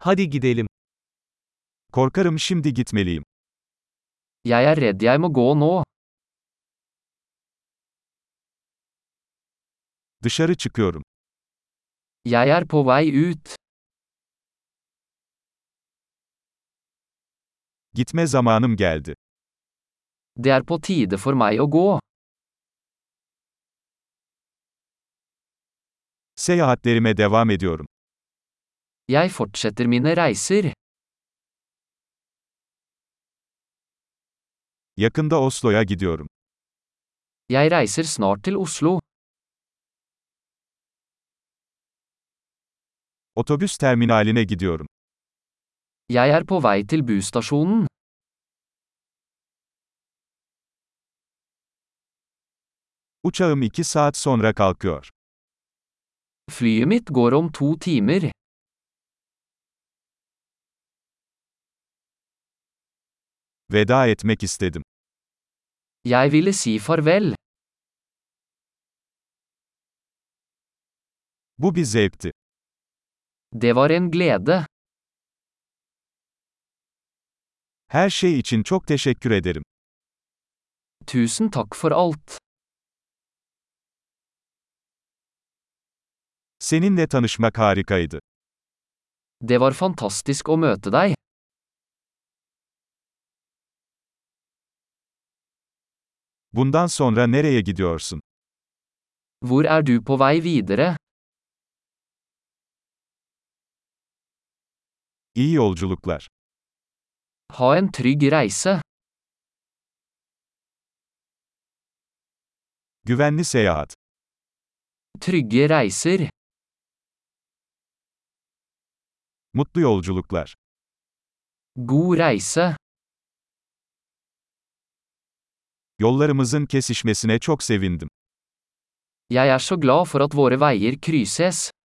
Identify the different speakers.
Speaker 1: Hadi gidelim. Korkarım şimdi gitmeliyim.
Speaker 2: Jeg er redd jeg må gå nå.
Speaker 1: Dışarı çıkıyorum.
Speaker 2: Jeg er på vei ut.
Speaker 1: Gitme zamanım geldi.
Speaker 2: Det er på tide for meg å gå.
Speaker 1: Seyahatlerime devam ediyorum.
Speaker 2: Jeg fortsetter mine reiser.
Speaker 1: Yakında Oslo'ya gidiyorum.
Speaker 2: Jeg reiser snart til Oslo.
Speaker 1: Otobüs terminaline gidiyorum.
Speaker 2: Jeg er på vei til busstasjonen.
Speaker 1: Uçağım 2 saat sonra kalkıyor.
Speaker 2: Flyet mitt går om to timer.
Speaker 1: Veda etmek istedim.
Speaker 2: Jeg ville si farvel.
Speaker 1: Bu bir zevkti.
Speaker 2: Det var en glede.
Speaker 1: Her şey için çok teşekkür ederim.
Speaker 2: Tusen takk for alt.
Speaker 1: Seninle tanışmak harikaydı.
Speaker 2: Det var fantastisk å møte deg.
Speaker 1: Bundan sonra nereye gidiyorsun?
Speaker 2: Hvor er du på vei videre?
Speaker 1: İyi yolculuklar.
Speaker 2: Ha en trygg reise.
Speaker 1: Güvenli seyahat.
Speaker 2: Trygge reiser.
Speaker 1: Mutlu yolculuklar.
Speaker 2: God reise.
Speaker 1: Yollarımızın kesişmesine çok sevindim.
Speaker 2: Jeg er så glad for at våre veier krysses.